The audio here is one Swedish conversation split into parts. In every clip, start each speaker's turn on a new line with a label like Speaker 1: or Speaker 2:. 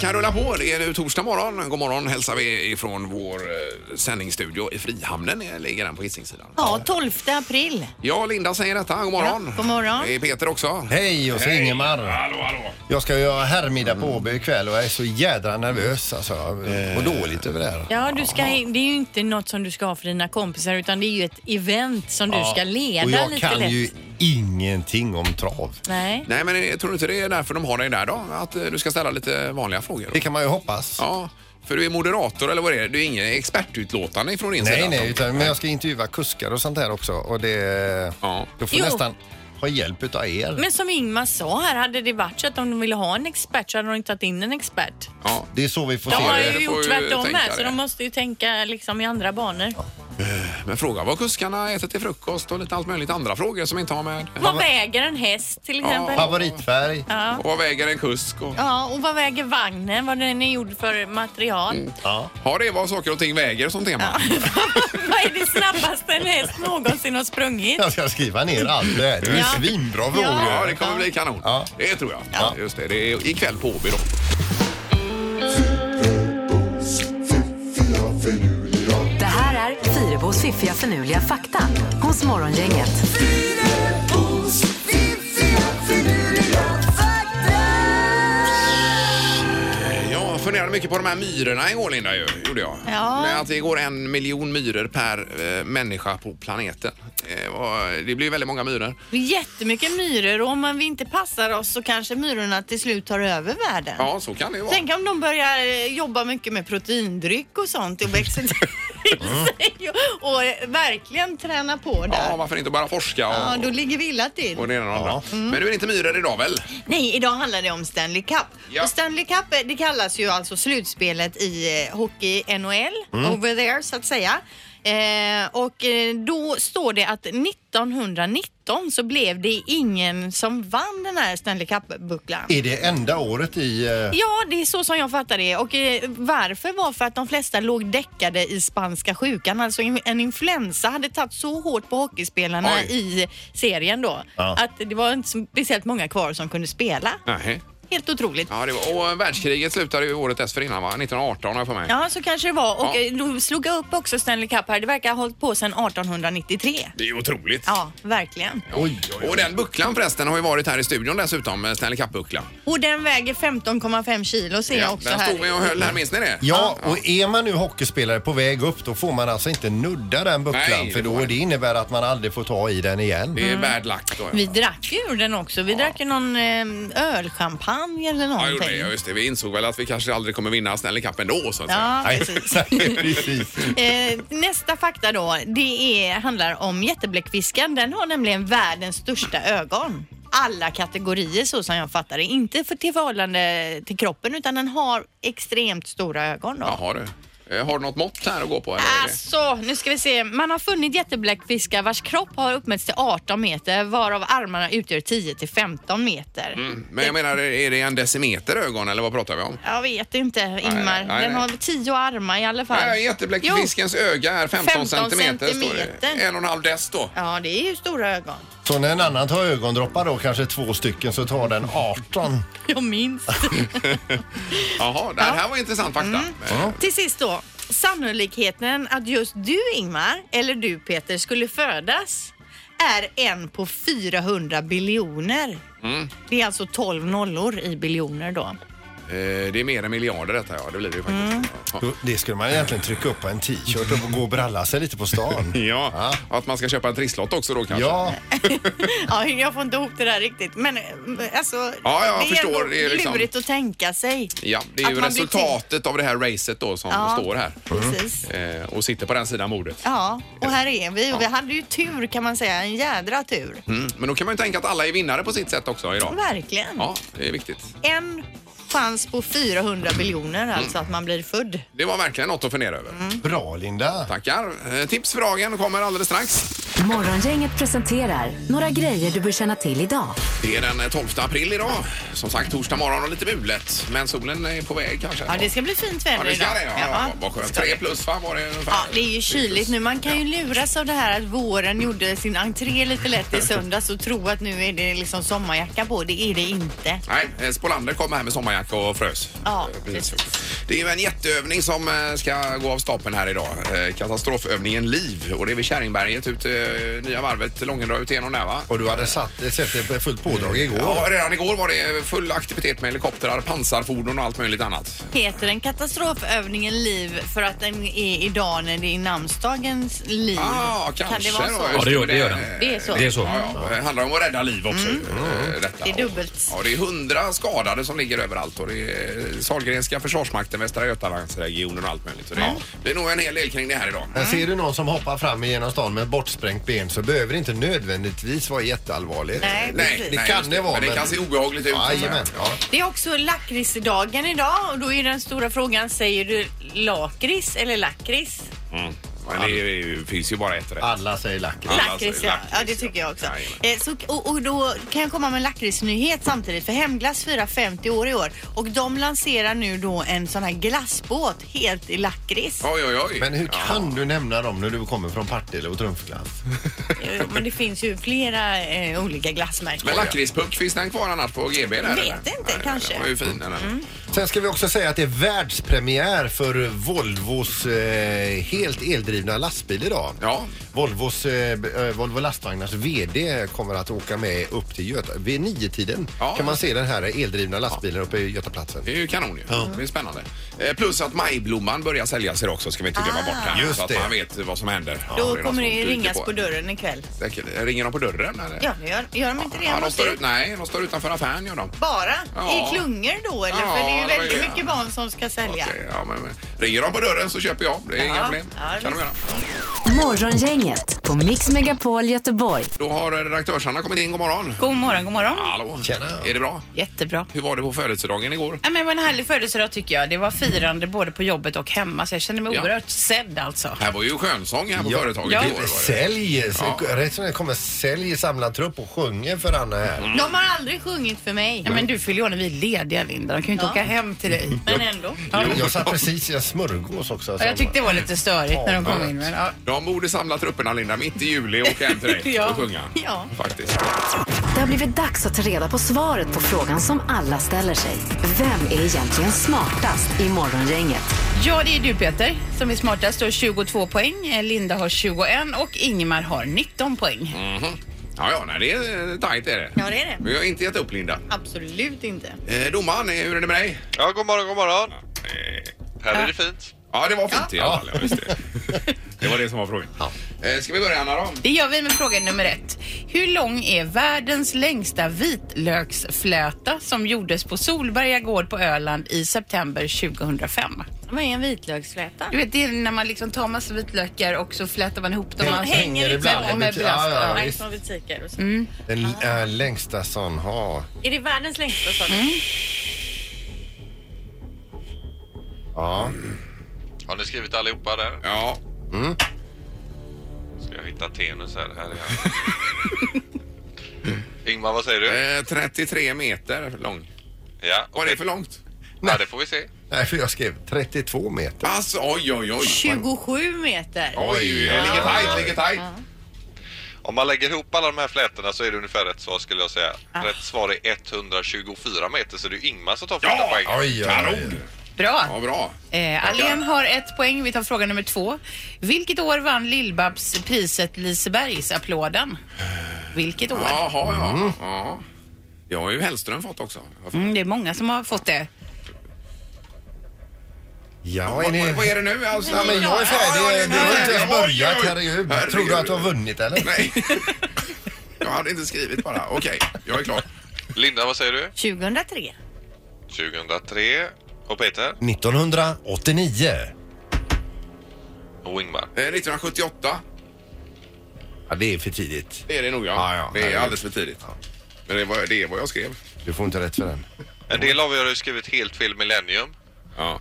Speaker 1: kan rulla på. Det är nu torsdag morgon. God morgon hälsar vi ifrån vår eh, sändningsstudio i Frihamnen. Eh, Ligger den på Hisingssidan.
Speaker 2: Ja, 12 april.
Speaker 1: Ja, Linda säger detta. God morgon.
Speaker 2: Ja, god morgon.
Speaker 1: Det är Peter också.
Speaker 3: Hej, och så Ingemar.
Speaker 1: Hallå, hallå.
Speaker 3: Jag ska göra herrmiddag på Åby ikväll och jag är så jädra nervös alltså. Jag mår dåligt över det här.
Speaker 2: Ja, du ska, det är ju inte något som du ska ha för dina kompisar utan det är ju ett event som du ska leda
Speaker 3: Och jag
Speaker 2: lite
Speaker 3: kan
Speaker 2: lätt.
Speaker 3: ju ingenting om trav.
Speaker 2: Nej.
Speaker 1: Nej, men eh, tror du inte det är därför de har dig där då? Att eh, du ska ställa lite vanliga frågor?
Speaker 3: Det kan man ju hoppas.
Speaker 1: Ja, för du är moderator eller vad det är. Du är ingen expertutlåtande från din sida.
Speaker 3: Nej, nej, utan, men jag ska intervjua kuskar och sånt där också och det...
Speaker 1: Ja.
Speaker 3: Då får
Speaker 2: Jo.
Speaker 3: jag nästan ha hjälp utav er.
Speaker 2: Men som Ingmar sa här, hade det varit så att om de ville ha en expert så hade de inte tagit in en expert.
Speaker 1: Ja.
Speaker 3: Det är så vi får
Speaker 2: De
Speaker 3: se
Speaker 2: har
Speaker 1: det
Speaker 2: ju
Speaker 1: får
Speaker 2: gjort
Speaker 1: ju
Speaker 2: tvärtom
Speaker 1: tänka
Speaker 2: här så
Speaker 1: det.
Speaker 2: de måste ju tänka liksom i andra banor.
Speaker 1: Eh, Men fråga vad kuskarna äter till frukost och lite allt möjligt andra frågor som inte har med...
Speaker 2: Vad väger en häst till exempel? Ja,
Speaker 3: Favoritfärg.
Speaker 1: Och vad väger en kusk? Och...
Speaker 2: och vad väger vagnen? Vad den är gjord för material?
Speaker 1: Mm.
Speaker 3: Ja.
Speaker 1: Ja, det var saker och ting väger som tema.
Speaker 2: vad är det snabbaste en häst någonsin har sprungit?
Speaker 3: Jag ska skriva ner allt det här. Det är
Speaker 2: Ja.
Speaker 3: svinbra
Speaker 2: Ja.
Speaker 3: frågor.
Speaker 1: Ja, det kommer bli kanon.
Speaker 3: Ja.
Speaker 1: Det tror jag.
Speaker 3: Ja.
Speaker 1: Just det, det är ikväll på Åby då.
Speaker 4: Det här är Fyrabos fiffiga förnuliga fakta hos Morgongänget.
Speaker 1: Eh, Jag funderade mycket på de här myrorna igår Linda ju, gjorde jag.
Speaker 2: Ja.
Speaker 1: Men att det går en miljon myror per eh, människa på planeten. Eh, och det blir väldigt många myror.
Speaker 2: Det är Jättemycket myror och om vi inte passar oss så kanske myrorna till slut tar över världen.
Speaker 1: Ja, så kan det ju vara.
Speaker 2: Tänk om de börjar eh, jobba mycket med proteindryck och sånt och växer till sig och, och eh, verkligen träna på
Speaker 1: Ja,
Speaker 2: där.
Speaker 1: varför inte bara forska och,
Speaker 2: Ja, då Mm. ligger vi illa till.
Speaker 1: och det ena och det andra. Men du är inte myror idag väl?
Speaker 2: Nej, idag handlar det om Stanley Cup.
Speaker 1: Ja.
Speaker 2: Och Stanley Cup eh, det kallas ju alltså slutspelet i eh, hockey NHL,
Speaker 3: Mm.
Speaker 2: over there så att säga. Eh, och eh, då står det att 1919 så blev det ingen som vann den här Stanley Cup-bucklan.
Speaker 3: Är det enda året i... eh,
Speaker 2: Ja, det är så som jag fattar det. Och eh, varför var för att de flesta låg däckade i spanska sjukan. Alltså in- en influensa hade tagit så hårt på hockeyspelarna
Speaker 1: Oj.
Speaker 2: i serien då
Speaker 3: Ja.
Speaker 2: att det var inte så speciellt många kvar som kunde spela.
Speaker 1: Nej.
Speaker 2: Helt otroligt. Ja.
Speaker 1: Ja, det var, och världskriget slutade ju året dessförinnan va? 1918 har jag för mig.
Speaker 2: så kanske det var. Och
Speaker 1: Ja.
Speaker 2: eh, då slog jag upp också Stanley Cup här. Det verkar ha hållit på sedan 1893.
Speaker 1: Det är ju otroligt.
Speaker 2: Ja, verkligen.
Speaker 3: Oj, oj,
Speaker 1: Och
Speaker 3: oj.
Speaker 1: den bucklan förresten har ju varit här i studion dessutom, eh, Stanley Cup-bucklan.
Speaker 2: Och den väger 15,5 kilo ser jag också
Speaker 1: den
Speaker 2: här.
Speaker 1: stod vi och höll här, minns ni det?
Speaker 3: Ja, och är man nu hockeyspelare på väg upp då får man alltså inte nudda den bucklan
Speaker 1: Nej, det
Speaker 3: för
Speaker 1: får man
Speaker 3: då det innebär att man aldrig får ta i den igen.
Speaker 1: Det är bad luck då.
Speaker 2: Vi drack ju ur den också. Vi drack ju någon eh, ölchampagne eller
Speaker 1: Ja,
Speaker 2: någonting.
Speaker 1: gjorde det. Ja, just det. Vi insåg väl att vi kanske aldrig kommer vinna Stanley Cup ändå så att säga.
Speaker 2: Ja,
Speaker 3: Nej,
Speaker 2: precis.
Speaker 3: nej, precis.
Speaker 2: Eh, nästa fakta då, det är, handlar om jättebläckfisken. Den har nämligen världens största ögon. Alla kategorier så som jag fattar det. Inte för till förhållande till kroppen utan den har extremt stora ögon då.
Speaker 1: Jaha du. Eh, Har du något mått här att gå på? Eller? är det-
Speaker 2: Alltså, nu ska vi se. Man har funnit jättebläckfiskar vars kropp har uppmätts till 18 meter varav armarna utgör 10 till 15 meter.
Speaker 1: Mm. Men jag menar, är det en decimeter ögon eller vad pratar vi om?
Speaker 2: Jag vet inte, Ingmar.
Speaker 1: nej, nej.
Speaker 2: Den har 10 armar i alla fall.
Speaker 1: Nej, Jättebläckfiskens öga är 15,
Speaker 2: 15
Speaker 1: centimeter, står det.
Speaker 2: centimeter.
Speaker 1: En och en halv dess då.
Speaker 2: Jo. Ja, det är ju stora ögon.
Speaker 3: Så när en annan tar ögondroppar då, kanske två stycken, så tar den 18.
Speaker 2: Jag minns.
Speaker 1: Jaha, det här var intressant fakta. Eh,
Speaker 2: Mm. Till sist då. Sannolikheten att just du Ingmar eller du Peter skulle födas är en på 400 biljoner.
Speaker 1: Mm.
Speaker 2: Det är alltså 12 nollor i biljoner då. Mm.
Speaker 1: eh, Det är mer än miljarder detta, ja. Det blir det ju faktiskt. Ja.
Speaker 3: Då- Det skulle man egentligen trycka upp på en t-shirt och gå och bralla sig lite på stan.
Speaker 1: Ja, att man ska köpa en trisslott också då kanske.
Speaker 3: Ja,
Speaker 2: Ja, jag får inte ihop det där riktigt. Men eh, alltså,
Speaker 1: jag
Speaker 2: det är
Speaker 1: förstår.
Speaker 2: ändå
Speaker 1: Det är liksom-
Speaker 2: lurigt att tänka sig.
Speaker 1: Ja, det är
Speaker 2: Att
Speaker 1: ju
Speaker 2: man blir
Speaker 1: resultatet av det här racet då som
Speaker 2: Ja.
Speaker 1: står här.
Speaker 2: Precis.
Speaker 1: Eh, och sitter på den sidan bordet.
Speaker 2: Ja, och här är vi. Och vi hade ju tur kan man säga. En jädra tur.
Speaker 1: Mm. Men då kan man ju tänka att alla är vinnare på sitt sätt också idag.
Speaker 2: Verkligen.
Speaker 1: Ja, det är viktigt.
Speaker 2: En chans på 400 biljoner
Speaker 1: Mm.
Speaker 2: alltså att man blir född. Mm.
Speaker 1: Det var verkligen något att fundera över.
Speaker 3: bra Linda.
Speaker 1: Tackar. Eh, Tips för dagen kommer alldeles strax.
Speaker 4: Morgongänget presenterar några grejer du bör känna till idag.
Speaker 1: Det är den eh, 12 april idag. Som sagt, torsdag morgon och lite mulet. Men solen är på väg kanske.
Speaker 2: Ja, det ska bli fint väder
Speaker 1: Ja, det ska
Speaker 2: idag.
Speaker 1: det. Ja, ja. Vad skönt.
Speaker 2: Ska det.
Speaker 1: Tre plus va, var det ungefär?
Speaker 2: Ja, det är ju kyligt nu. Man kan ju
Speaker 1: Ja.
Speaker 2: luras av det här att våren gjorde sin entré lite lätt i söndags och tro att nu är det liksom sommarjacka på. Det är det inte.
Speaker 1: Nej, eh, Spolander kom här med sommarjacka och frös.
Speaker 2: Ja,
Speaker 1: Eh, precis.
Speaker 2: precis.
Speaker 1: Det är ju en jätteövning som eh, ska gå av stapeln här idag. Eh, Katastrofövningen LIV. Och det är vid Kärringberget, ut, eh, Nya varvet, Långendrag ut igenom där va?
Speaker 3: Och du hade satt, sett det på fullt pådrag
Speaker 1: Ja,
Speaker 3: igår.
Speaker 1: redan igår var det full aktivitet med helikoptrar, pansarfordon och allt möjligt annat.
Speaker 2: Heter den katastrofövningen LIV för att den är idag när det är namnsdagens liv?
Speaker 1: Ah, kanske
Speaker 2: kan det vara
Speaker 1: då,
Speaker 2: så?
Speaker 1: just
Speaker 5: Ja, det gör- det gör
Speaker 1: Eh,
Speaker 5: den.
Speaker 2: Det är så. Mm.
Speaker 5: Det är så. Mm.
Speaker 1: Ja, ja. Det handlar om att rädda liv också. eh, Detta.
Speaker 2: Det är dubbelt.
Speaker 1: Ja, det är hundra skadade som ligger överallt. Och det är Sahlgrenska Försvarsmakten, Västra Götalandsregionen och allt möjligt. Så det, det är nog en hel del kring det här idag.
Speaker 3: Men ser du någon som hoppar fram genom stan med ett bortsprängt ben så behöver det inte nödvändigtvis vara jätteallvarligt.
Speaker 2: Nej,
Speaker 1: Nej,
Speaker 2: precis.
Speaker 3: det
Speaker 1: nej,
Speaker 3: kan
Speaker 1: just
Speaker 3: det vara,
Speaker 1: Men det
Speaker 3: men-
Speaker 1: kan se obehagligt ut.
Speaker 3: Jajamän.
Speaker 1: Ja.
Speaker 2: Det är också lakritsdagen idag och då är den stora frågan, säger du lakrits eller lakrits?
Speaker 1: Mm. Men det, är- det finns ju bara ett rätt.
Speaker 3: Alla säger lakrits.
Speaker 1: Ja.
Speaker 2: Lakrits,
Speaker 1: alltså,
Speaker 2: ja.
Speaker 1: lakrits,
Speaker 2: ja. Det tycker jag också.
Speaker 1: ja.
Speaker 2: Eh, så, och, och då kan jag komma med en lakritsnyhet samtidigt. För Hemglass firar 50 år i år och de lanserar nu då en sån här glassbåt helt i lakrits.
Speaker 1: Oj, oj, oj.
Speaker 3: Men hur
Speaker 1: Ja.
Speaker 3: kan du nämna dem när du kommer från Partille och Trumfglass?
Speaker 2: Eh, Men det finns ju flera eh, olika glassmärken.
Speaker 1: Men lakritspuck, finns den kvar annars på GB? Där,
Speaker 2: Vet
Speaker 1: eller?
Speaker 2: inte,
Speaker 1: Nej,
Speaker 2: kanske.
Speaker 1: Den var ju fin. Den. Mm.
Speaker 3: Sen ska vi också säga att det är världspremiär för Volvos eh, helt eldrivna lastbil idag.
Speaker 1: Ja.
Speaker 3: Volvos, eh, b- eh, Volvo Lastvagnars VD kommer att åka med upp till Göta. Vid niotiden
Speaker 1: Ja.
Speaker 3: kan man se den här eldrivna lastbilen uppe i Götaplatsen.
Speaker 1: Det är ju kanon ju. Det är spännande. Eh, Plus att majblomman börjar säljas idag också, ska vi inte glömma bort här.
Speaker 3: Just
Speaker 1: så att
Speaker 3: det.
Speaker 1: man vet vad som händer. Ja, är
Speaker 2: Ah. Då
Speaker 1: någon
Speaker 2: kommer
Speaker 1: som
Speaker 2: det
Speaker 1: dyker
Speaker 2: ringas på
Speaker 1: en.
Speaker 2: dörren ikväll.
Speaker 1: Säkert. Ringer de på dörren eller?
Speaker 2: Ja, gör, gör de inte det?
Speaker 1: Ja, de
Speaker 2: hos
Speaker 1: står
Speaker 2: er?
Speaker 1: ut, nej, de står utanför affären gör de.
Speaker 2: Bara
Speaker 1: Ja.
Speaker 2: i klungor då eller?
Speaker 1: Ja,
Speaker 2: För det är
Speaker 1: det
Speaker 2: ju
Speaker 1: var
Speaker 2: väldigt
Speaker 1: ju-
Speaker 2: mycket barn som ska sälja.
Speaker 1: Okej, ja, men, men. Ringer de på dörren så köper jag. Det är inga
Speaker 2: Ja,
Speaker 1: problem.
Speaker 2: ja,
Speaker 1: kan de
Speaker 2: visst.
Speaker 1: göra.
Speaker 4: Morgongänget på Mix Megapol Göteborg.
Speaker 1: Då har redaktörsarna kommit in. God morgon.
Speaker 6: God morgon, god morgon.
Speaker 1: Hallå.
Speaker 3: Tjena.
Speaker 1: Är det bra?
Speaker 6: Jättebra.
Speaker 1: Hur var det på födelsedagen igår?
Speaker 6: Ja, men det var en härlig födelsedag tycker jag. Det var firande både på jobbet och hemma så jag kände mig
Speaker 1: Ja.
Speaker 6: oerhört sedd alltså.
Speaker 1: Här var ju skönsång här på
Speaker 3: Ja.
Speaker 1: företaget
Speaker 6: Ja.
Speaker 1: igår. Var det.
Speaker 3: Sälj!
Speaker 1: Ja.
Speaker 3: Rätt som det kommer sälj i samlad trupp och sjunger för Anna
Speaker 6: Mm.
Speaker 3: här.
Speaker 2: De har aldrig sjungit för mig.
Speaker 6: Ja, men du fyller ju år när vi är lediga Linda. De kan ju inte
Speaker 2: Ja.
Speaker 6: åka hem till dig.
Speaker 2: Men ändå.
Speaker 6: Ja.
Speaker 3: Jag satt precis i en smörgås också.
Speaker 6: Ja, jag tyckte det var lite störigt när de kom in. Men, ja.
Speaker 1: De borde samla trupperna, Linda, mitt i juli och åka hem till dig
Speaker 6: Ja.
Speaker 1: och sjunga.
Speaker 2: Ja.
Speaker 1: Faktiskt.
Speaker 4: Det har blivit dags att ta reda på svaret på frågan som alla ställer sig. Vem är egentligen smartast i Morgongänget?
Speaker 6: ja, det är du Peter som är smartast och har 22 poäng. Eh, Linda har 21 och Ingmar har 19 poäng.
Speaker 1: Mhm. Ja, ja, nej, det är eh, tajt är det.
Speaker 2: Ja, det är det.
Speaker 1: Men jag har inte gett upp, Linda.
Speaker 2: Absolut inte.
Speaker 1: Eh, domaren, eh, hur är det med dig?
Speaker 7: Ja, god morgon, god morgon.
Speaker 1: Eh,
Speaker 7: Här är det fint.
Speaker 1: Ja, det var fint i alla fall. Ja, just det. det var det som var frågan. Eh, ska vi börja, Anna, då?
Speaker 6: Det gör vi med fråga nummer ett. Hur lång är världens längsta vitlöksflöta som gjordes på Solberga gård på Öland i september 2005?
Speaker 2: Vad är en vitlöksfläta?
Speaker 6: Du vet, det är när man liksom tar massa vitlökar och så flätar man ihop dem.
Speaker 3: Häng-
Speaker 6: Alltså,
Speaker 3: hänger
Speaker 6: lite
Speaker 3: ibland.
Speaker 6: med- med
Speaker 3: Ja, ja,
Speaker 6: blast.
Speaker 3: ja,
Speaker 6: Ja.
Speaker 3: visst.
Speaker 2: Från butiker och så.
Speaker 3: Den äh, längsta sån har.
Speaker 2: Är det världens längsta sån?
Speaker 3: Ja.
Speaker 7: Har ni skrivit allihopa där?
Speaker 1: Ja.
Speaker 7: Mm. Ska jag hitta Tenus här? här är jag. Ingmar, vad säger du?
Speaker 1: Eh, 33 meter lång.
Speaker 7: Ja,
Speaker 1: Var det
Speaker 7: okej.
Speaker 1: för långt?
Speaker 7: ja, det får vi se.
Speaker 3: Nej, för jag skrev 32 meter.
Speaker 1: Alltså, oj, oj, oj.
Speaker 2: 27 meter.
Speaker 1: Oj, det ligger tajt, ligger tajt.
Speaker 7: Om man lägger ihop alla de här flätorna så är det ungefär rätt svar skulle jag säga. Rätt svar är 124 meter så det är ju Ingmar som tar första
Speaker 1: Ja,
Speaker 7: poängen.
Speaker 3: Oj, oj, oj.
Speaker 1: Kanon! Ja,
Speaker 6: Bra!
Speaker 1: bra.
Speaker 6: Eh, Alén har ett poäng. Vi tar fråga nummer två. Vilket år vann Lill-Babs priset Lisebergsapplåden? Vilket år?
Speaker 1: Jaha, ja.
Speaker 7: Mm.
Speaker 1: ja. Det har ju Hellström fått också.
Speaker 6: Mm, det är många som har fått det.
Speaker 3: Ja, är
Speaker 1: Vad, vad,
Speaker 3: ni...
Speaker 1: vad är det nu? Alltså,
Speaker 3: Ja, men jag är
Speaker 1: Ja, ja,
Speaker 3: färdig. Du
Speaker 1: ja,
Speaker 3: har
Speaker 1: ja,
Speaker 3: inte ens
Speaker 1: ja,
Speaker 3: börjat,
Speaker 1: oj, oj.
Speaker 3: herregud. Tror du att du har vunnit eller?
Speaker 1: Nej. Jag hade inte skrivit bara. Okej, jag är klar.
Speaker 7: Linda, vad säger du?
Speaker 2: 2003.
Speaker 7: 2003. Och Peter?
Speaker 3: 1989.
Speaker 7: Och Ingmar?
Speaker 1: Eh, 1978
Speaker 3: Ja, det är för tidigt.
Speaker 1: det är det nog ja.
Speaker 3: Ja, ja.
Speaker 1: det är alldeles för tidigt. Men det var, det är vad jag skrev.
Speaker 3: Du får inte rätt för den.
Speaker 7: En del av er har ju skrivit helt fel millennium.
Speaker 1: Ja.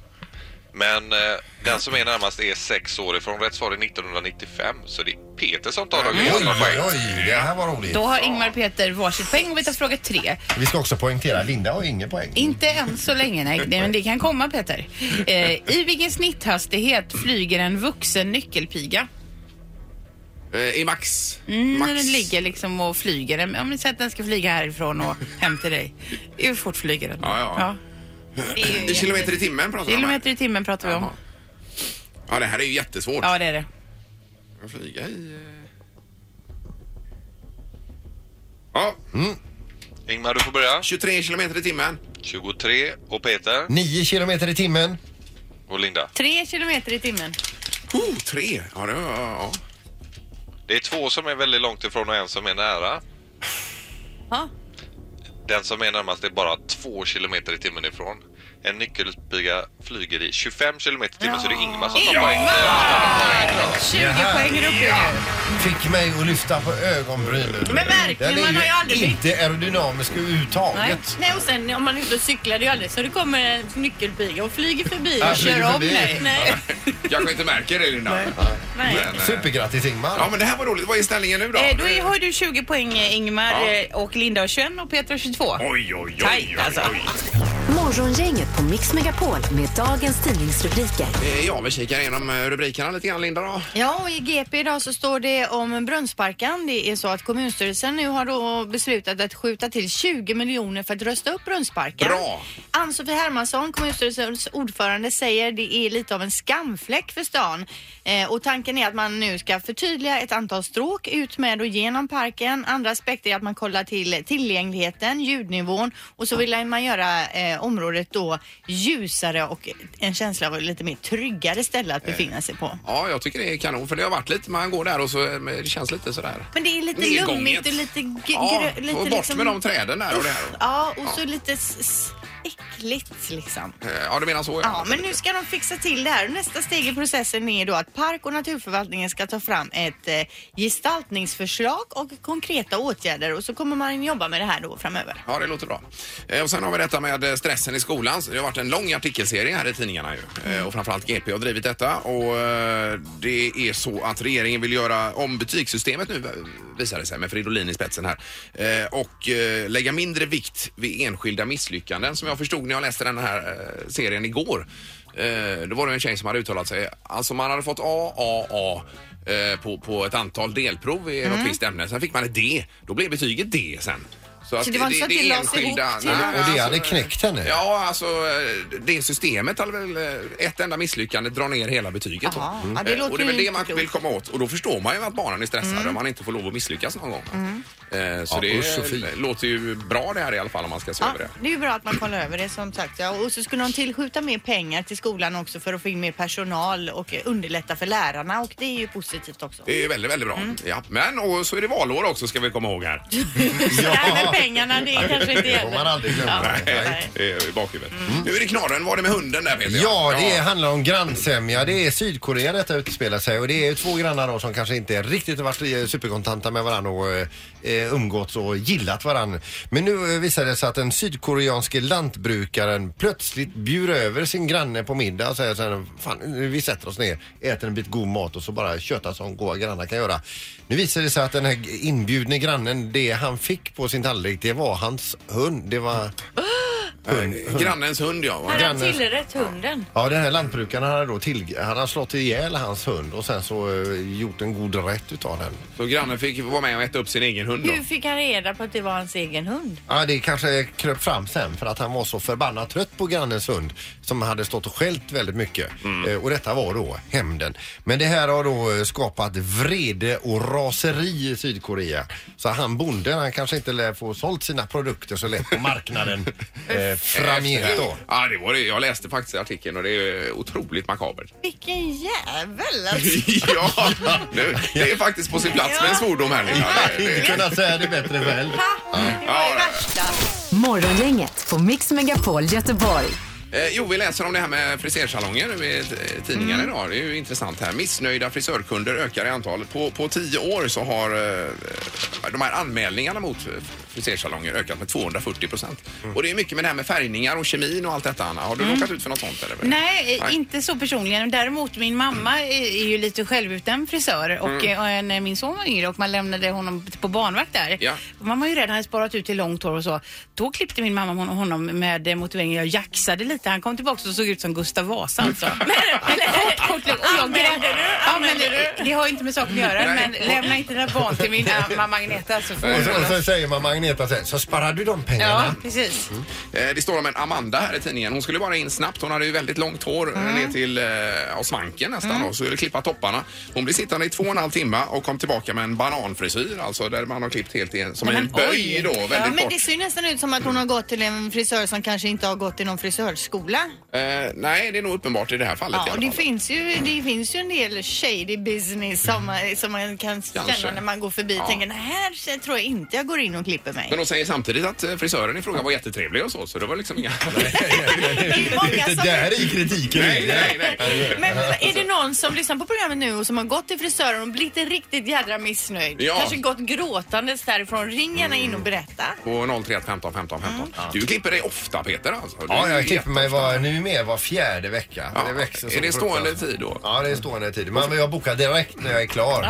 Speaker 7: Men eh, den som är närmast är sex år ifrån. Rätt svar är 1995. Så det är Peter som tar dagens
Speaker 1: Oj,
Speaker 7: andra
Speaker 1: oj,
Speaker 7: poäng.
Speaker 3: Oj, det här var roligt.
Speaker 6: Då har Ingmar och Peter varsitt poäng och vi tar fråga tre.
Speaker 3: Vi ska också poängtera, Linda har ingen poäng.
Speaker 6: Inte än så länge, nej. Det- Men det kan komma Peter. Eh, I vilken snitthastighet flyger en vuxen nyckelpiga?
Speaker 1: Eh, I max.
Speaker 6: Mm,
Speaker 1: max.
Speaker 6: När den ligger liksom och flyger. Den- Om vi säger att den ska flyga härifrån och hem till dig. Hur fort flyger den?
Speaker 1: Ja, ja. I kilometer i timmen pratar vi om här.
Speaker 6: Kilometer i timmen pratar vi om.
Speaker 1: Jaha. Ja, det här är ju jättesvårt.
Speaker 6: Ja, det är det.
Speaker 1: Att flyga i... eh. Ja,
Speaker 7: Mm. Ingmar, du får börja.
Speaker 1: 23 kilometer i timmen.
Speaker 7: 23 och Peter
Speaker 3: 9 kilometer i timmen.
Speaker 7: och Linda.
Speaker 2: Tre kilometer i timmen.
Speaker 1: Oh, tre! Ja, det var... Ja.
Speaker 7: Det är två som är väldigt långt ifrån och en som är nära.
Speaker 2: Ja.
Speaker 7: Den som är närmast är bara 2 kilometer i timmen ifrån. En nyckelpiga flyger i 25 kilometer i timmen så det är Ingmar som tar poäng.
Speaker 6: 20 poäng är uppe nu.
Speaker 3: Fick mig att lyfta på ögonbrynen.
Speaker 2: Men verkligen,
Speaker 3: Den är
Speaker 2: man har ju aldrig
Speaker 3: ju inte aerodynamisk
Speaker 2: Nej.
Speaker 3: överhuvudtaget.
Speaker 2: Nej, och sen om man är ute och cyklar, det är ju aldrig så det kommer en nyckelpiga och flyger förbi
Speaker 3: Ja,
Speaker 2: och
Speaker 3: flyger
Speaker 2: kör om
Speaker 3: förbi.
Speaker 2: dig. Nej.
Speaker 1: Kanske inte märker det, Linda.
Speaker 2: Nej.
Speaker 1: Men, eh,
Speaker 3: Supergrattis Ingmar.
Speaker 1: Ja, men det här var roligt. Vad är ställningen nu då?
Speaker 6: Eh, Då är- har du 20 poäng eh, Ingmar
Speaker 1: Ja.
Speaker 6: eh, och Linda har 21 och Peter har 22.
Speaker 1: Oj, oj, oj. oj,
Speaker 6: Tajt, alltså.
Speaker 1: oj.
Speaker 4: Morgongänget på Mix Megapol med dagens tidningsrubriker.
Speaker 1: Eh, Ja, vi kikar igenom eh, rubrikerna lite grann, Linda. Då.
Speaker 2: Ja, och i GP idag så står det om Brunnsparkan. Det är så att kommunstyrelsen nu har då beslutat att skjuta till 20 miljoner för att rusta upp Brunnsparken.
Speaker 1: Bra.
Speaker 2: Ann-Sofie Hermansson, kommunstyrelsens ordförande, säger det är lite av en skamfläck för stan. Eh, och tanken är att man nu ska förtydliga ett antal stråk ut med och genom parken. Andra aspekter är att man kollar till tillgängligheten, ljudnivån och så vill man göra eh, området då ljusare och en känsla av lite mer tryggare ställe att befinna sig på.
Speaker 1: Ja, jag tycker det är kanon. För det har varit lite, man går där och så eh, det känns lite sådär.
Speaker 2: Men det är lite
Speaker 1: Nedgånget.
Speaker 2: lummigt och lite... Gr-
Speaker 1: Ja,
Speaker 2: grö- lite liksom-
Speaker 1: och bort med de träden där och det här.
Speaker 2: Uff, Ja, och så lite s- s- äckligt liksom.
Speaker 1: Eh, Ja, du menar så?
Speaker 2: Ja, men nu ska de fixa till det här. Nästa steg i processen är då att Park och naturförvaltningen ska ta fram ett eh, gestaltningsförslag och konkreta åtgärder och så kommer man jobba med det här då framöver.
Speaker 1: Ja, det låter bra. Eh, Och sen har vi detta med eh, stressen i skolan. Så Det har varit en lång artikelserie här i tidningarna ju. Eh, Och framförallt GP har drivit detta. Och eh, det är så att regeringen vill göra om betygssystemet nu eh, visar det sig med Fridolin i spetsen här. Eh, Och eh, lägga mindre vikt vid enskilda misslyckanden som jag förstod när jag läste den här eh, serien igår. Eh, Då var det en tjej som hade uttalat sig. Alltså man hade fått A, A, A eh, på, på ett antal delprov i
Speaker 2: Mm.
Speaker 1: något visst ämne. Sen fick man ett D. Då blev betyget D sen. att
Speaker 2: Så det var inte så att det lades ihop till-
Speaker 1: nej,
Speaker 3: Och det hade knäckt henne.
Speaker 1: Ja, alltså eh, det systemet hade väl eh, ett enda misslyckande drar ner hela betyget. då.
Speaker 2: Jaha, ja, det
Speaker 1: Eh,
Speaker 2: låter
Speaker 1: och det är väl
Speaker 2: ju Mm.
Speaker 1: det man
Speaker 2: inte
Speaker 1: vill komma åt och då förstår man ju att barnen är stressade och man inte får lov att misslyckas någon gång. Eh, Så
Speaker 3: Ja,
Speaker 1: det
Speaker 3: usch och fy.
Speaker 1: eh, låter ju bra det här i alla fall om man ska se
Speaker 2: Ja,
Speaker 1: över det.
Speaker 2: det är ju bra att man kollar över det som sagt. Ja, och så skulle de tillskjuta mer pengar till skolan också för att få in mer personal och eh, underlätta för lärarna och det är ju positivt också.
Speaker 1: Det är ju väldigt, väldigt bra.
Speaker 2: Mm.
Speaker 1: Ja, men och så är det valår också ska vi komma ihåg här.
Speaker 2: Det här med pengarna, det kanske inte
Speaker 3: Det får man
Speaker 2: gäller.
Speaker 3: aldrig glömma.
Speaker 2: Ja. Mm.
Speaker 3: Nej.
Speaker 2: Nej.
Speaker 1: Det är I bakhuvudet. Nu är det knorren. Var det med hunden där Peter?
Speaker 3: Ja, det är, handlar om grannsämja. Det är Sydkorea detta utspelar sig och det är ju två grannar då som kanske inte riktigt har varit eh, superkontanta med varandra och eh, umgåtts och gillat varandra. Men nu eh, visar det sig att den sydkoreanske lantbrukaren plötsligt bjuder över sin granne på middag och säger så här, fan vi sätter oss ner, äter en bit god mat och så bara köttar som goa grannar kan göra. Nu visar det sig att den här inbjudne grannen, det han fick på sin tallrik, det var hans hund. Det var... Hund,
Speaker 1: Eh, Grannens hund ja. va?
Speaker 2: Här har
Speaker 3: Grannen-
Speaker 2: tillrätt hunden.
Speaker 3: Ja, den här lantbrukaren hade då till, han hade slått ihjäl hans hund och sen så eh, gjort en god rätt utav den.
Speaker 1: Så grannen fick vara med och äta upp sin egen hund då.
Speaker 2: Hur fick han reda på att det var hans egen hund?
Speaker 3: Ja, det kanske kröp fram sen för att han var så förbannat trött på grannens hund som hade stått och skällt väldigt mycket. Eh, Och detta var då hämnden. Men det här har då eh, skapat vrede och raseri i Sydkorea. Så han bonden, han kanske inte lär få sålt sina produkter så lätt på marknaden eh, framgent då.
Speaker 1: Ja, det var det. Jag läste faktiskt artikeln och det är otroligt makabert.
Speaker 2: Vilken jävel alltså.
Speaker 1: ja, nu, det är faktiskt på sin plats med en svordom här Linda. Det-
Speaker 3: Inte
Speaker 1: det-
Speaker 3: kunnat säga det bättre själv.
Speaker 2: Det var det värsta.
Speaker 4: Morgongänget på Mix Megapol Göteborg.
Speaker 1: Eh, Jo, vi läser om det här med frisersalonger nu i eh, tidningarna
Speaker 3: Mm.
Speaker 1: idag. Det är ju intressant här. Missnöjda frisörkunder ökar i antal. På, på tio år så har eh, de här anmälningarna mot frisersalonger ökat med 240 procent.
Speaker 3: Mm.
Speaker 1: Och det är mycket med det här med färgningar och kemin och allt detta, Anna. Har du råkat ut för något sånt? Eller?
Speaker 6: Nej, inte så personligen. Däremot min mamma är är ju lite självuten frisör och
Speaker 3: Mm.
Speaker 6: eh, när min son var yngre och man lämnade honom på barnvakt där.
Speaker 1: Ja.
Speaker 6: Man var ju rädd, han hade sparat ut till långt hår och så. Då klippte min mamma hon- honom med eh, motiveringen jag jaxade lite. Han kom tillbaka och såg ut som Gustav Vasa alltså. Men- Kort, kort, kort. Och jag grät. Ja, men det, det har ju inte med saken att göra
Speaker 1: Nej.
Speaker 6: men lämna inte dina barn till min eh, mamma Magneta så får
Speaker 3: Och så, och
Speaker 6: hon
Speaker 3: så säger man Magneta så här, så sparar du de
Speaker 6: Ja,
Speaker 3: pengarna.
Speaker 6: precis.
Speaker 1: Eh, Det står om en Amanda här i tidningen. Hon skulle bara in snabbt. Hon hade ju väldigt långt hår eh, ner till eh, ja, svanken nästan och så skulle klippa topparna. Hon blev sittande i två och en halv timme och kom tillbaka med en bananfrisyr, alltså där man har klippt helt i en, som
Speaker 6: Nej,
Speaker 1: en
Speaker 6: men
Speaker 1: böj
Speaker 6: oj.
Speaker 1: då,
Speaker 2: Ja,
Speaker 1: väldigt
Speaker 2: men
Speaker 1: kort.
Speaker 2: det ser ju nästan ut som att hon har gått till en frisör som kanske inte har gått till någon frisörskola.
Speaker 1: Eh, nej, det är nog uppenbart i det här fallet i
Speaker 2: Ja, och
Speaker 1: alla
Speaker 2: det
Speaker 1: fall.
Speaker 2: finns, ju, det finns ju en del shady business som, man- som man kan
Speaker 1: Kanske.
Speaker 2: känna när man går förbi
Speaker 1: Ja.
Speaker 2: och tänker "Nej, här tror jag inte jag går in och klipper mig.
Speaker 1: Men de säger samtidigt att eh, frisören i fråga var jättetrevlig och så, så det var liksom inga...
Speaker 2: Det är många
Speaker 3: Det
Speaker 2: som-
Speaker 3: där är kritiken
Speaker 1: nej,
Speaker 3: ligger.
Speaker 1: nej, nej.
Speaker 2: Men är det någon som lyssnar på programmet nu och som har gått till frisören och blivit riktigt jädra missnöjd?
Speaker 1: Ja.
Speaker 2: Kanske gått gråtandes därifrån. Ring gärna in och berätta.
Speaker 1: På 031 15 15 15. Du klipper dig ofta Peter alltså? Du
Speaker 3: Ja,
Speaker 1: är
Speaker 3: jag klipper mig
Speaker 1: jätteofta.
Speaker 3: var, numera var fjärde vecka.
Speaker 1: Ja.
Speaker 3: Det växer så
Speaker 1: Är det
Speaker 3: fruktansvärt.
Speaker 1: stående tid då?
Speaker 3: Ja, det är stående tid. Men jag bokar direkt när jag är klar.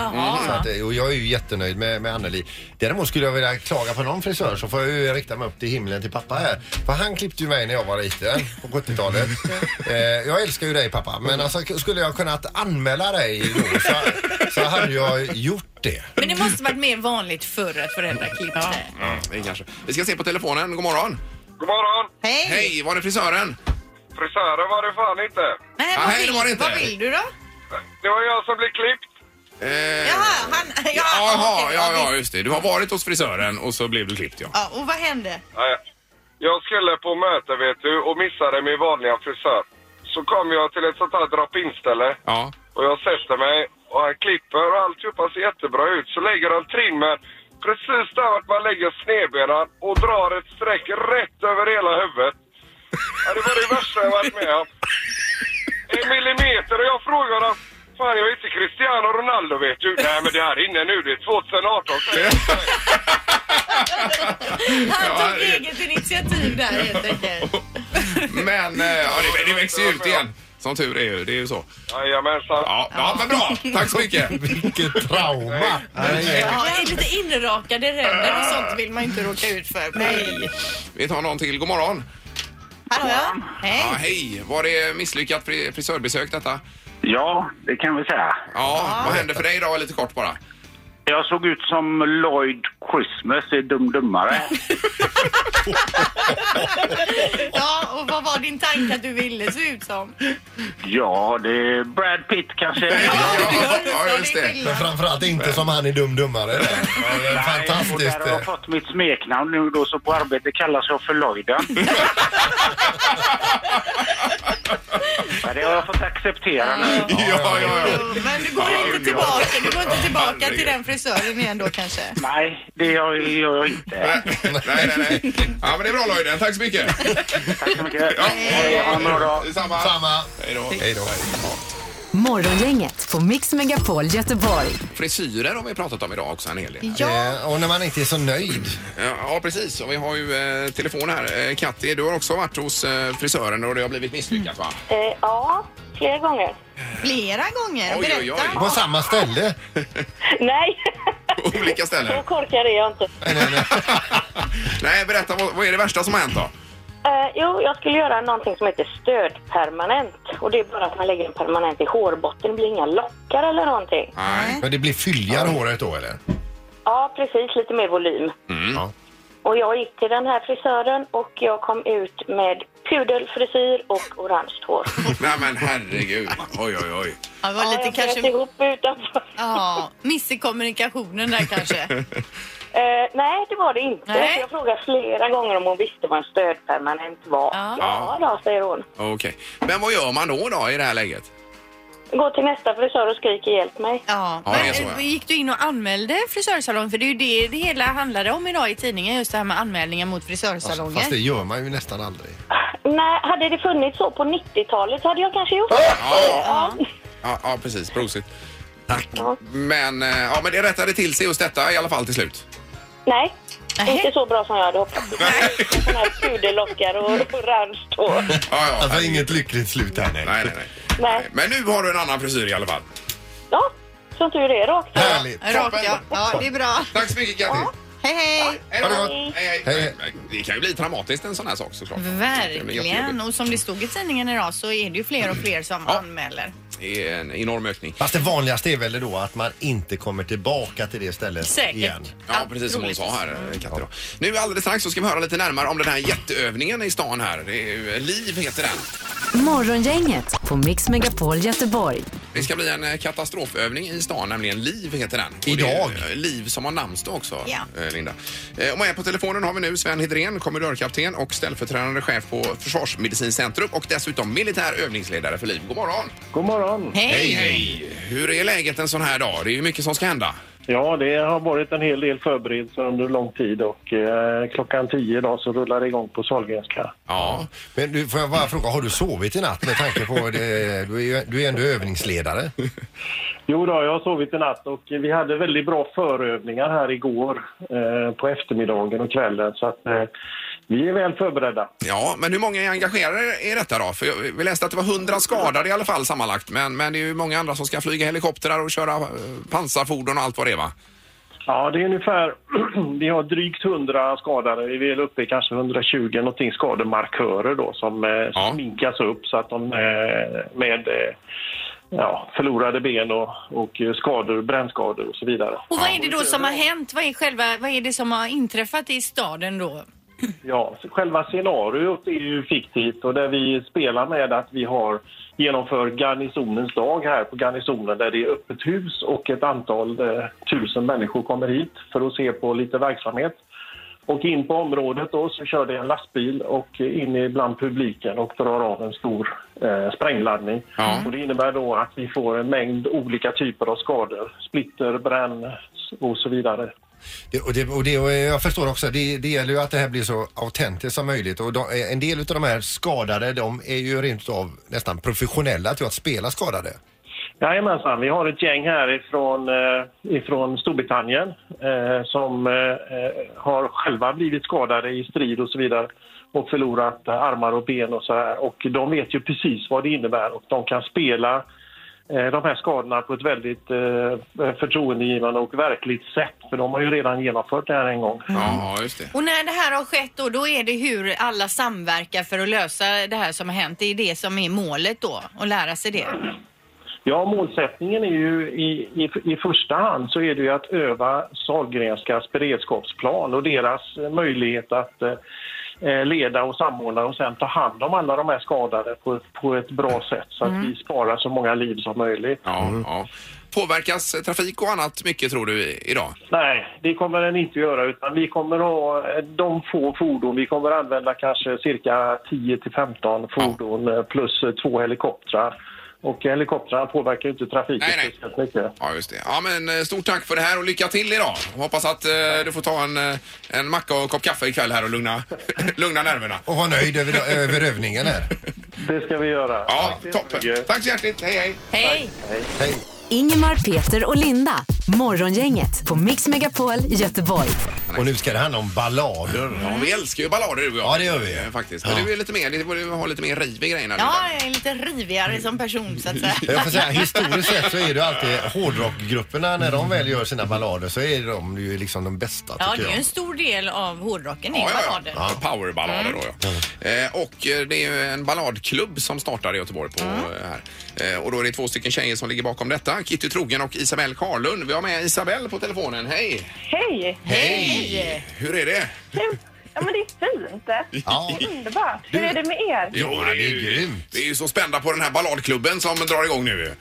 Speaker 3: Så att, eh, och jag är ju jättenöjd med, med Anneli. Däremot skulle jag vilja klaga på någon frisör så får jag ju rikta mig upp till himlen till pappa här. För han klippte ju mig när jag var liten på 70-talet. eh, jag älskar ju dig pappa men alltså, skulle jag kunnat anmäla dig då så, så hade jag gjort det.
Speaker 2: Men det måste varit mer vanligt förr att föräldrar klippte.
Speaker 1: Det kanske. Vi ska se på telefonen. God morgon.
Speaker 8: God morgon!
Speaker 2: Hej!
Speaker 1: Hej, var det frisören?
Speaker 8: Frisören var det fan inte.
Speaker 2: Nej,
Speaker 1: Ja,
Speaker 2: vad,
Speaker 1: hej,
Speaker 2: vill,
Speaker 1: det var det inte.
Speaker 2: vad vill du då?
Speaker 8: Det var jag som blev klippt.
Speaker 1: Eh,
Speaker 2: Jaha, han... Ja,
Speaker 1: Jaha,
Speaker 2: okej,
Speaker 1: ja, ja,
Speaker 2: visst.
Speaker 1: just det. Du har varit hos frisören och så blev du klippt, ja.
Speaker 2: Ja, och vad hände?
Speaker 8: Nej, Jag skulle på möte vet du och missade min vanliga frisör. Så kom jag till ett sånt här drop-in ställe
Speaker 1: Ja.
Speaker 8: och jag sätter mig och han klipper och alltihopa ser jättebra ut. Så lägger han trimmen precis där vart man lägger snedbenan och drar ett streck rätt över hela huvudet. Ja, Det var det värsta jag varit med om. En millimeter och jag frågar honom Fan jag är inte Cristiano Ronaldo vet du. Nej men det här är inne nu, det är 2018 säger jag.
Speaker 2: Han
Speaker 1: Ja,
Speaker 2: tog
Speaker 1: det-
Speaker 2: eget initiativ där helt enkelt.
Speaker 1: Men eh, ja, det, det växer ju ut igen. Som tur är ju. Det är ju så.
Speaker 8: Jajamensan.
Speaker 1: Ja, ja men bra. Tack så mycket.
Speaker 3: Vilket trauma! Nej.
Speaker 2: Ja, lite inrakade ränder och sånt vill man ju inte råka ut för. Nej.
Speaker 1: Vi tar någon till. God morgon.
Speaker 2: Hallå? Hej.
Speaker 1: Ja, hej. Var det misslyckat fri- frisörbesök detta?
Speaker 5: Ja, det kan vi säga.
Speaker 1: Ja, vad hände för dig idag? Lite kort bara.
Speaker 5: Jag såg ut som Lloyd Christmas i Dum Dummare.
Speaker 2: Ja, och vad var din tanke att du ville se ut som?
Speaker 5: Ja, det är Brad Pitt kanske.
Speaker 1: Ja,
Speaker 2: Ja,
Speaker 1: ja just
Speaker 2: det är
Speaker 1: det.
Speaker 2: skillnad.
Speaker 3: Men framförallt inte som han är dum dummare. Ja, det är
Speaker 5: Nej, och där
Speaker 3: Fantastiskt.
Speaker 5: har jag fått mitt smeknamn nu då, så på arbetet kallas jag för Lloyden. Men det har jag fått acceptera nu.
Speaker 1: Ja, ja, ja.
Speaker 2: Jo, Men du går inte tillbaka, du går inte tillbaka till den frisören igen då kanske?
Speaker 5: Nej, det gör gör jag inte.
Speaker 1: Nej, nej, nej. Ja, men det är bra Lloyden. Tack så mycket.
Speaker 5: Tack så mycket.
Speaker 1: Ja,
Speaker 5: Ha en bra dag.
Speaker 1: Detsamma.
Speaker 3: Samma.
Speaker 1: Hej då.
Speaker 3: Hej då.
Speaker 4: Morgongänget på Mix Megapol Göteborg.
Speaker 1: Frisyrer har vi pratat om idag också en hel del.
Speaker 2: Ja.
Speaker 3: Eh, Och när man inte är så nöjd.
Speaker 1: Ja, precis. Och vi har ju eh, telefon här. Eh, Katti, du har också varit hos eh, frisören och det har blivit misslyckat va?
Speaker 9: Eh, ja, flera gånger.
Speaker 2: Flera gånger.
Speaker 1: Oj, oj, oj.
Speaker 2: Berätta.
Speaker 3: På samma ställe.
Speaker 9: Nej,
Speaker 1: På olika
Speaker 9: så
Speaker 1: ställen.
Speaker 9: korkad är jag inte.
Speaker 1: Nej, berätta. Vad, vad är det värsta som har hänt då?
Speaker 9: Eh, jo, jag skulle göra någonting som heter stödpermanent. Och det är bara att man lägger en permanent i hårbotten. Det blir inga lockar eller någonting.
Speaker 1: Nej.
Speaker 3: Men det blir fylligare håret då eller?
Speaker 9: Ja, precis. Lite mer volym.
Speaker 1: Mm.
Speaker 3: Ja.
Speaker 9: Och jag gick till den här frisören och jag kom ut med pudelfrisyr och orange hår.
Speaker 1: Nej, men herregud. Oj, oj, oj.
Speaker 2: Ja, det var
Speaker 9: Ja,
Speaker 2: lite
Speaker 9: jag flöt
Speaker 2: kanske...
Speaker 9: ihop utanför.
Speaker 2: Ja, miss i kommunikationen där kanske.
Speaker 9: Eh, nej, det var det inte.
Speaker 2: Nej.
Speaker 9: Jag frågade flera gånger om hon visste vad en stödpermanent var.
Speaker 2: Ja.
Speaker 9: ja då, säger hon.
Speaker 1: Okej. Men vad gör man då, då i det här läget?
Speaker 9: Gå till nästa frisör och skrik hjälp mig.
Speaker 2: Ja,
Speaker 1: Ja,
Speaker 2: men
Speaker 1: det är så, ja.
Speaker 2: eh, gick du in och anmälde frisörsalongen? För det är ju det det hela handlade om idag i tidningen, just det här med anmälningar mot frisörsalonger.
Speaker 3: Fast det gör man ju nästan aldrig.
Speaker 9: Nej, hade det funnits så på 90-talet så hade jag kanske gjort det.
Speaker 1: Ja, ja, ja precis. Prosit. Tack. Men, eh, ja, men det rättade till sig just detta i alla fall till slut.
Speaker 10: Nej,
Speaker 2: Nej.
Speaker 10: inte så bra som jag hade hoppats. Sådana här puderlockar och orange då.
Speaker 1: ja,
Speaker 3: Alltså inget lyckligt slut där. Nej.
Speaker 1: Nej, nej, nej.
Speaker 10: Nej.
Speaker 1: Men nu har du en annan frisyr i alla fall.
Speaker 10: Ja, som tur är rakt.
Speaker 3: Härligt.
Speaker 2: Rakt ja. Ja, det är bra.
Speaker 1: Tack så mycket, Gatti.
Speaker 2: Hej, hej.
Speaker 1: Hej då.
Speaker 3: Ha det
Speaker 1: Hej, hej.
Speaker 3: Hej,
Speaker 1: Det kan ju bli traumatiskt en sån här sak såklart. Det blir
Speaker 2: Verkligen.
Speaker 1: jättejobbigt.
Speaker 2: Och som det stod i tidningen idag så är det ju fler och fler som
Speaker 1: Ja.
Speaker 2: anmäler.
Speaker 1: Det är en enorm ökning.
Speaker 3: Fast det vanligaste är väl då att man inte kommer tillbaka till det stället
Speaker 2: Säkert.
Speaker 3: igen.
Speaker 1: Ja, precis som hon sa här, Katte. då. Nu alldeles strax så ska vi höra lite närmare om den här jätteövningen i stan här. Det är ju, LIV heter den.
Speaker 4: Morgongänget på Mix Megapol Göteborg.
Speaker 1: Det ska bli en eh, katastrofövning i stan, nämligen LIV heter den. Och
Speaker 3: Idag.
Speaker 1: det är, eh, LIV som har namnsdag också,
Speaker 2: Ja.
Speaker 1: eh, Linda. Eh, Och med på telefonen har vi nu Sven Hedren, kommendörkapten och ställföreträdande chef på Försvarsmedicincentrum och dessutom militär övningsledare för LIV. God morgon!
Speaker 11: God morgon.
Speaker 1: Hej, hej! Hur är läget en sån här dag? Det är ju mycket som ska hända.
Speaker 11: Ja, det har varit en hel del förberedelser under lång tid och eh, klockan tio idag så rullar det igång på Sahlgrenska.
Speaker 1: Ja,
Speaker 3: Men du, får jag bara fråga, har du sovit i natt med tanke på det? Du är ju du är ändå övningsledare.
Speaker 11: Jo då, jag har sovit i natt och vi hade väldigt bra förövningar här igår eh, på eftermiddagen och kvällen så att eh, vi är väl förberedda.
Speaker 1: ja men hur många är engagerade i detta då? För jag, vi läste att det var 100 skadade i alla fall sammanlagt. Men, men det är ju många andra som ska flyga helikoptrar och köra eh, pansarfordon och allt vad det är va?
Speaker 11: Ja, det är ungefär, vi har drygt 100 skadade, vi är väl uppe i kanske 120 någonting skademarkörer då som eh,
Speaker 1: Ja.
Speaker 11: sminkas upp så att de eh, med eh, ja, förlorade ben och, och eh, skador, brännskador och så vidare.
Speaker 2: Och vad är det då som har hänt? Vad är, själva, vad är det som har inträffat i staden då?
Speaker 11: Ja, själva scenariot är ju fiktivt och där vi spelar med att vi har genomför garnisonens dag här på garnisonen där det är öppet hus och ett antal eh, tusen människor kommer hit för att se på lite verksamhet. Och in på området då så kör det en lastbil och in i bland publiken och drar av en stor eh, sprängladdning.
Speaker 1: Ja.
Speaker 11: Och det innebär då att vi får en mängd olika typer av skador, splitter, bränn och så vidare.
Speaker 3: Det, och det, och det, och jag förstår också, det, det gäller ju att det här blir så autentiskt som möjligt och de, en del av de här skadade de är ju rent av nästan professionella till att spela skadade.
Speaker 11: Jajamensan, vi har ett gäng här ifrån, eh, ifrån Storbritannien eh, som eh, eh, har själva blivit skadade i strid och så vidare och förlorat eh, armar och ben och så här. Och de vet ju precis vad det innebär och de kan spela eh, de här skadorna på ett väldigt eh, förtroendegivande och verkligt sätt för de har ju redan genomfört det här en gång.
Speaker 1: Ja, just det.
Speaker 2: Och när det här har skett då, då är det hur alla samverkar för att lösa det här som har hänt. Det är det som är målet då, att lära sig det.
Speaker 11: Ja, målsättningen är ju i, i, i första hand så är det ju att öva Sahlgrenskas beredskapsplan och deras eh, möjlighet att eh, leda och samordna och sen ta hand om alla de här skadade på, ett- på ett bra sätt så att vi sparar så många liv som möjligt.
Speaker 1: Ja, ja. Påverkas trafik och annat mycket tror du i- idag?
Speaker 11: Nej, det kommer den inte göra utan vi kommer ha eh, de få fordon, vi kommer använda kanske cirka 10 till 15 fordon eh, plus eh, två helikoptrar. Och helikoptrarna påverkar ju inte trafiken
Speaker 1: Nej, nej.
Speaker 11: speciellt mycket.
Speaker 1: Ja, just det. Ja, men eh, stort tack för det här och lycka till idag. Hoppas att eh, du får ta en, eh, en macka och en kopp kaffe ikväll här och lugna, lugna nerverna.
Speaker 3: Och var nöjd över, över övningen här.
Speaker 11: Det ska vi göra.
Speaker 1: Ja,
Speaker 11: Tack så
Speaker 1: toppen.
Speaker 11: mycket.
Speaker 1: Tack så hjärtligt. Hej, hej.
Speaker 2: Hej!
Speaker 3: Hej.
Speaker 4: Ingemar, Peter och Linda. Morgongänget på Mix Megapol Göteborg.
Speaker 3: Och nu ska det handla om ballader.
Speaker 1: Ja, vi älskar ju ballader du och jag.
Speaker 3: Ja, det gör vi.
Speaker 1: Eh, Faktiskt. Men
Speaker 3: Ja.
Speaker 1: du är lite mer, du borde ha lite mer riv i grejerna.
Speaker 2: Ja,
Speaker 1: Linda.
Speaker 2: jag är lite rivigare som person så att säga.
Speaker 3: Jag får säga, historiskt sett så är det alltid hårdrockgrupperna när de väl gör sina ballader så är de ju liksom de bästa
Speaker 2: Ja, det
Speaker 3: tycker
Speaker 2: är ju
Speaker 3: jag.
Speaker 2: en stor del av hårdrocken i
Speaker 1: Ja, ja,
Speaker 2: ballader.
Speaker 1: ja. Powerballader då ja. Eh, och eh, det är ju en balladklubb som startar i Göteborg på eh, här. Eh, och då är det två stycken tjejer som ligger bakom detta. Kitty Trogen och Isabelle Karlund. Vi har med Isabelle på telefonen. Hej!
Speaker 10: Hej!
Speaker 1: Hej! Hur är det?
Speaker 10: Ja, men det är fint.
Speaker 3: Ja.
Speaker 10: Underbart. Hur är det med er?
Speaker 1: Jo,
Speaker 3: det är grymt.
Speaker 1: Vi är ju så spända på den här balladklubben som drar igång nu.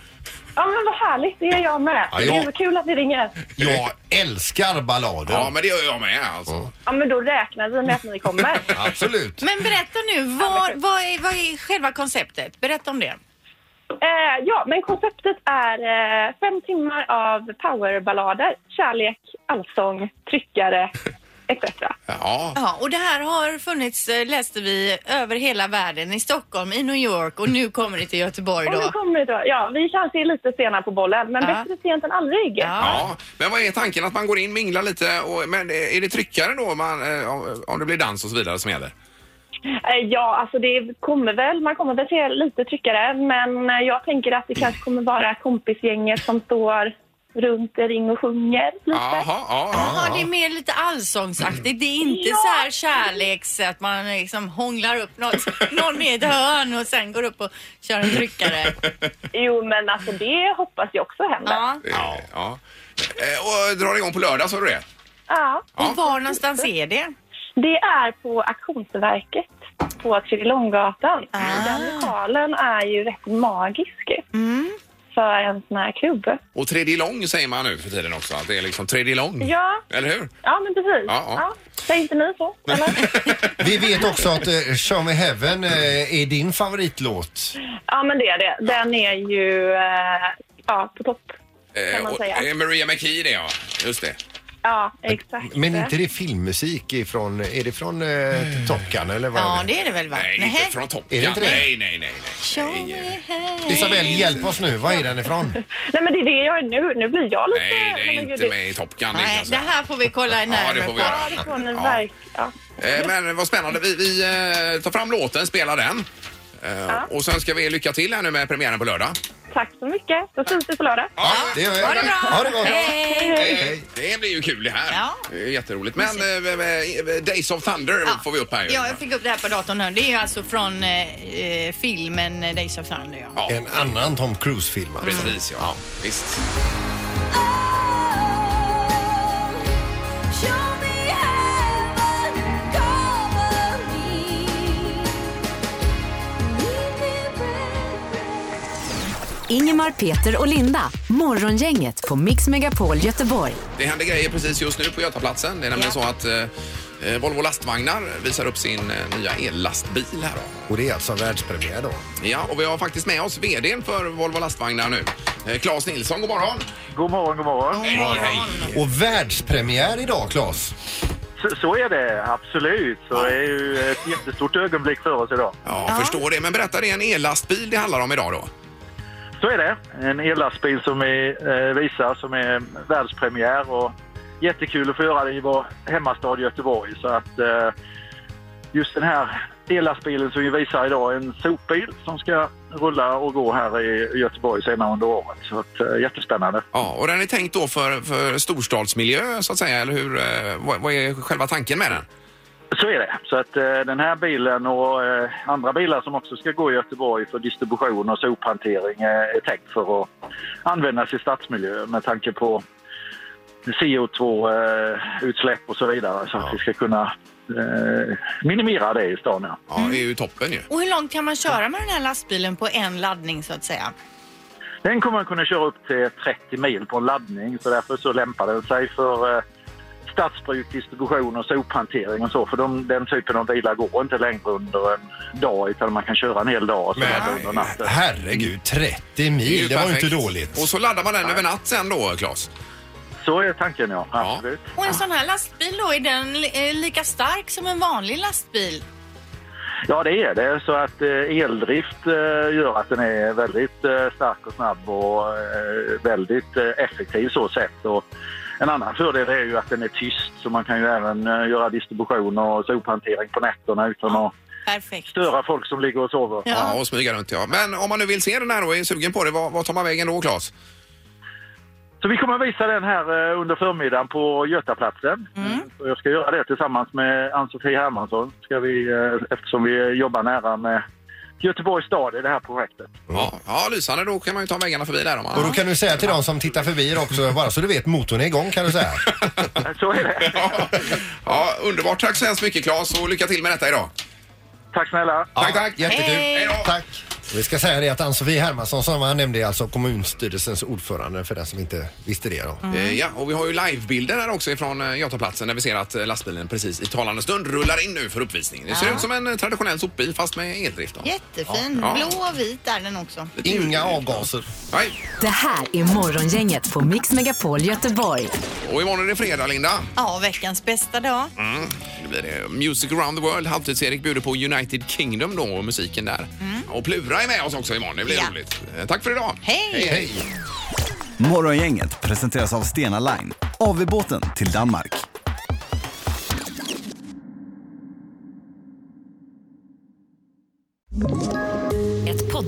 Speaker 10: Ja, men vad härligt. Det är jag med.
Speaker 3: Ja, ja.
Speaker 10: Gud, vad kul att ni ringer.
Speaker 3: Jag älskar ballader.
Speaker 1: Ja, men det gör jag med alltså.
Speaker 10: Ja, men då räknar vi med att ni kommer.
Speaker 3: Absolut.
Speaker 2: Men berätta nu, vad, vad, är, vad är själva konceptet? Berätta om det.
Speaker 10: Eh, ja, men konceptet är eh, fem timmar av powerballader, kärlek, allsång, tryckare, etc.
Speaker 1: Ja.
Speaker 2: Ja, och det här har funnits, eh, läste vi, över hela världen. I Stockholm, i New York och nu kommer det till Göteborg
Speaker 10: Och nu
Speaker 2: då.
Speaker 10: kommer det då. Ja, vi kanske är lite sena på bollen, men
Speaker 2: Ja.
Speaker 10: bättre sent än aldrig.
Speaker 1: Ja, men vad är tanken att man går in, minglar lite och, men är det tryckare då om man, eh, om- om det blir dans och så vidare som gäller?
Speaker 10: Eh, Ja, alltså det kommer väl, man kommer väl se lite tryckare, men eh, jag tänker att det kanske kommer vara kompisgänget som står runt i ring och sjunger lite.
Speaker 1: Jaha, ja,
Speaker 2: Jaha, det är
Speaker 1: ja.
Speaker 2: mer lite allsångsaktigt. Det är inte
Speaker 10: Ja.
Speaker 2: så här kärleks att man liksom hånglar upp något, någon i ett hörn och sen går upp och kör en tryckare.
Speaker 10: Jo, men alltså det hoppas jag också händer. Ja.
Speaker 2: Ja.
Speaker 1: ja. ja. Eh, Och drar igång på lördag, sa du det? Ja.
Speaker 2: Och var någonstans är det?
Speaker 10: Det är på Auktionsverket på Tredjelånggatan.
Speaker 2: Ah.
Speaker 10: Den lokalen är ju rätt magisk
Speaker 2: Mm.
Speaker 10: för en sån här klubb.
Speaker 3: Mm.
Speaker 1: Och tredje lång säger man nu för tiden också, att det är liksom tredje lång.
Speaker 10: Ja.
Speaker 1: Eller hur?
Speaker 10: Ja, men precis.
Speaker 1: Ja, ja.
Speaker 10: Säger inte ni så? Eller?
Speaker 3: Vi vet också att eh, Show Me Heaven eh, är din favoritlåt.
Speaker 10: ja, men det är det. Den är ju eh, ja, på topp, kan man
Speaker 1: och,
Speaker 10: säga.
Speaker 1: eh, Maria McKee det ja, just det.
Speaker 10: Ja, exakt.
Speaker 3: Men inte det filmmusik ifrån, är det från eh, Top Gun eller vad
Speaker 2: Ja,
Speaker 3: är det?
Speaker 2: det är det väl va?
Speaker 1: Nej,
Speaker 2: Nähä.
Speaker 1: inte från Top
Speaker 3: Är det
Speaker 1: Gun.
Speaker 3: inte det?
Speaker 1: Nej, nej, nej.
Speaker 2: Show
Speaker 1: nej.
Speaker 2: me
Speaker 1: nej.
Speaker 2: how.
Speaker 3: Isabel, hjälp oss nu. Var är den ifrån?
Speaker 10: Nej, men det är det jag är nu. Nu blir jag lite...
Speaker 1: Nej, det är
Speaker 10: men
Speaker 1: inte
Speaker 10: gud,
Speaker 1: med i Top Gun. det kan
Speaker 2: Nej,
Speaker 1: jag
Speaker 2: det
Speaker 1: säga.
Speaker 2: här får vi kolla
Speaker 1: Ja, det
Speaker 2: närmare
Speaker 1: får vi
Speaker 2: på.
Speaker 1: göra.
Speaker 10: Ja, det får ni
Speaker 1: Ja.
Speaker 10: verkligen. Ja.
Speaker 1: Eh, Men vad spännande. Vi, vi eh, tar fram låten, spelar den. Eh, Och sen ska vi er lycka till här nu med premiären på lördag.
Speaker 10: Tack så mycket. Då syns vi på lördag.
Speaker 1: Ja,
Speaker 3: Det gör vi.
Speaker 2: Ha det bra!
Speaker 3: Ha det gott.
Speaker 2: Hej!
Speaker 1: hej, hej. Det blir ju kul det här.
Speaker 2: Ja.
Speaker 1: Det är jätteroligt. Men eh, eh, Days of Thunder
Speaker 2: Ja.
Speaker 1: får vi upp här ju.
Speaker 2: Ja, jag fick upp det här på datorn. här. Det är ju alltså från eh, eh, filmen eh, Days of Thunder. Ja.
Speaker 1: Ja,
Speaker 3: En annan Tom Cruise-film alltså.
Speaker 1: Precis, ja. Visst.
Speaker 4: Ingemar, Peter och Linda. Morgongänget på Mix Megapol Göteborg.
Speaker 1: Det händer grejer precis just nu på Götaplatsen. Det är nämligen så att eh, eh, Volvo Lastvagnar visar upp sin eh, nya ellastbil här då.
Speaker 3: Och det är alltså världspremiär då.
Speaker 1: Ja, och vi har faktiskt med oss VDn för Volvo Lastvagnar nu. Eh, Claes Nilsson, god morgon.
Speaker 5: God morgon, god morgon.
Speaker 1: Hej, hej.
Speaker 3: Och världspremiär idag, Claes.
Speaker 5: Så, så är det, absolut. Så det är ju ett jättestort ögonblick för oss idag.
Speaker 1: Ja, förstår det. Men berätta, det är en ellastbil det handlar om idag då.
Speaker 5: Så är det. En ellastbil som vi eh, visar som är världspremiär och jättekul att få göra det i vår hemmastad Göteborg. Så att eh, just den här ellastbilen som vi visar idag är en sopbil som ska rulla och gå här i Göteborg senare under året. Så att, eh, jättespännande.
Speaker 1: Ja, och den är tänkt då för, för storstadsmiljö så att säga, eller hur? Eh, vad, vad är själva tanken med den?
Speaker 5: Så är det. Så att eh, den här bilen och eh, andra bilar som också ska gå i Göteborg för distribution och sophantering eh, är tänkt för att användas i stadsmiljö med tanke på CO2-utsläpp eh, och så vidare så att vi ska kunna eh, minimera det i stan. Ja.
Speaker 1: Ja, det är ju toppen ju.
Speaker 2: Och hur långt kan man köra med den här lastbilen på en laddning så att säga?
Speaker 5: Den kommer man kunna köra upp till 30 mil på en laddning så därför så lämpar den sig för eh, stadsbruk, distribution och sophantering och så för de, den typen av bilar går inte längre under en dag utan man kan köra en hel dag och så
Speaker 3: Men-
Speaker 5: ladda under natten.
Speaker 3: Herregud, 30
Speaker 1: är
Speaker 3: mil. Det var ju
Speaker 1: perfekt.
Speaker 3: inte dåligt.
Speaker 1: Och så laddar man den över natt sen då, Claes?
Speaker 5: Så är tanken ja, absolut.
Speaker 2: Och en sån här lastbil då, är den li- eh, lika stark som en vanlig lastbil?
Speaker 5: Ja det är det, så att eh, eldrift eh, gör att den är väldigt eh, stark och snabb och eh, väldigt eh, effektiv så sett. Och en annan fördel är ju att den är tyst så man kan ju även eh, göra distribution och sophantering på nätterna utan att
Speaker 2: Perfekt.
Speaker 5: störa folk som ligger och sover.
Speaker 1: Ja.
Speaker 2: Ja.
Speaker 1: och smyga runt ja. Men om man nu vill se den här och är sugen på det, vad, vad tar man vägen då, Claes?
Speaker 5: Så vi kommer att visa den här eh, under förmiddagen på Götaplatsen. Och Jag ska göra det tillsammans med Ann-Sofie Hermansson ska vi, eh, eftersom vi jobbar nära med Göteborgs stad i det här projektet.
Speaker 1: Ja, ja lysande. Då kan man ju ta vägarna förbi där om man...
Speaker 3: Och då kan du säga till de som tittar förbi er också, bara så du vet, motorn är igång kan du säga.
Speaker 5: Så är det.
Speaker 1: ja. ja, underbart. Tack så hemskt mycket, Claes, och lycka till med detta idag.
Speaker 5: Tack snälla.
Speaker 1: Tack, tack.
Speaker 3: Jättekul.
Speaker 2: Hej.
Speaker 1: Hej då.
Speaker 3: Tack. Vi ska säga det att Ann-Sofie Hermansson som han nämnde är alltså kommunstyrelsens ordförande för den som inte visste det. Då.
Speaker 2: Mm.
Speaker 1: Eh, Ja, och vi har ju livebilder här också ifrån eh, Götaplatsen där vi ser att eh, lastbilen precis i talande stund rullar in nu för uppvisning. Det ser ut som en eh, traditionell sopbil fast med eldrift. Då.
Speaker 2: Jättefin.
Speaker 1: Ja.
Speaker 2: Blå och vit är den också.
Speaker 3: Inga avgaser.
Speaker 1: Nej.
Speaker 4: Det här är Morgongänget på Mix Megapol Göteborg.
Speaker 1: Och imorgon är det fredag, Linda.
Speaker 2: Ja, veckans bästa dag.
Speaker 1: Det blir det Music around the world. Halvtids-Erik bjuder på United Kingdom då och musiken där. Och Plura är med oss också imorgon. Det blir
Speaker 2: Mm. Ja.
Speaker 1: roligt. Eh, Tack för idag.
Speaker 2: Hej!
Speaker 1: Hej.
Speaker 12: Morgongänget presenteras av Stena Line, AV-båten till Danmark.
Speaker 4: Ett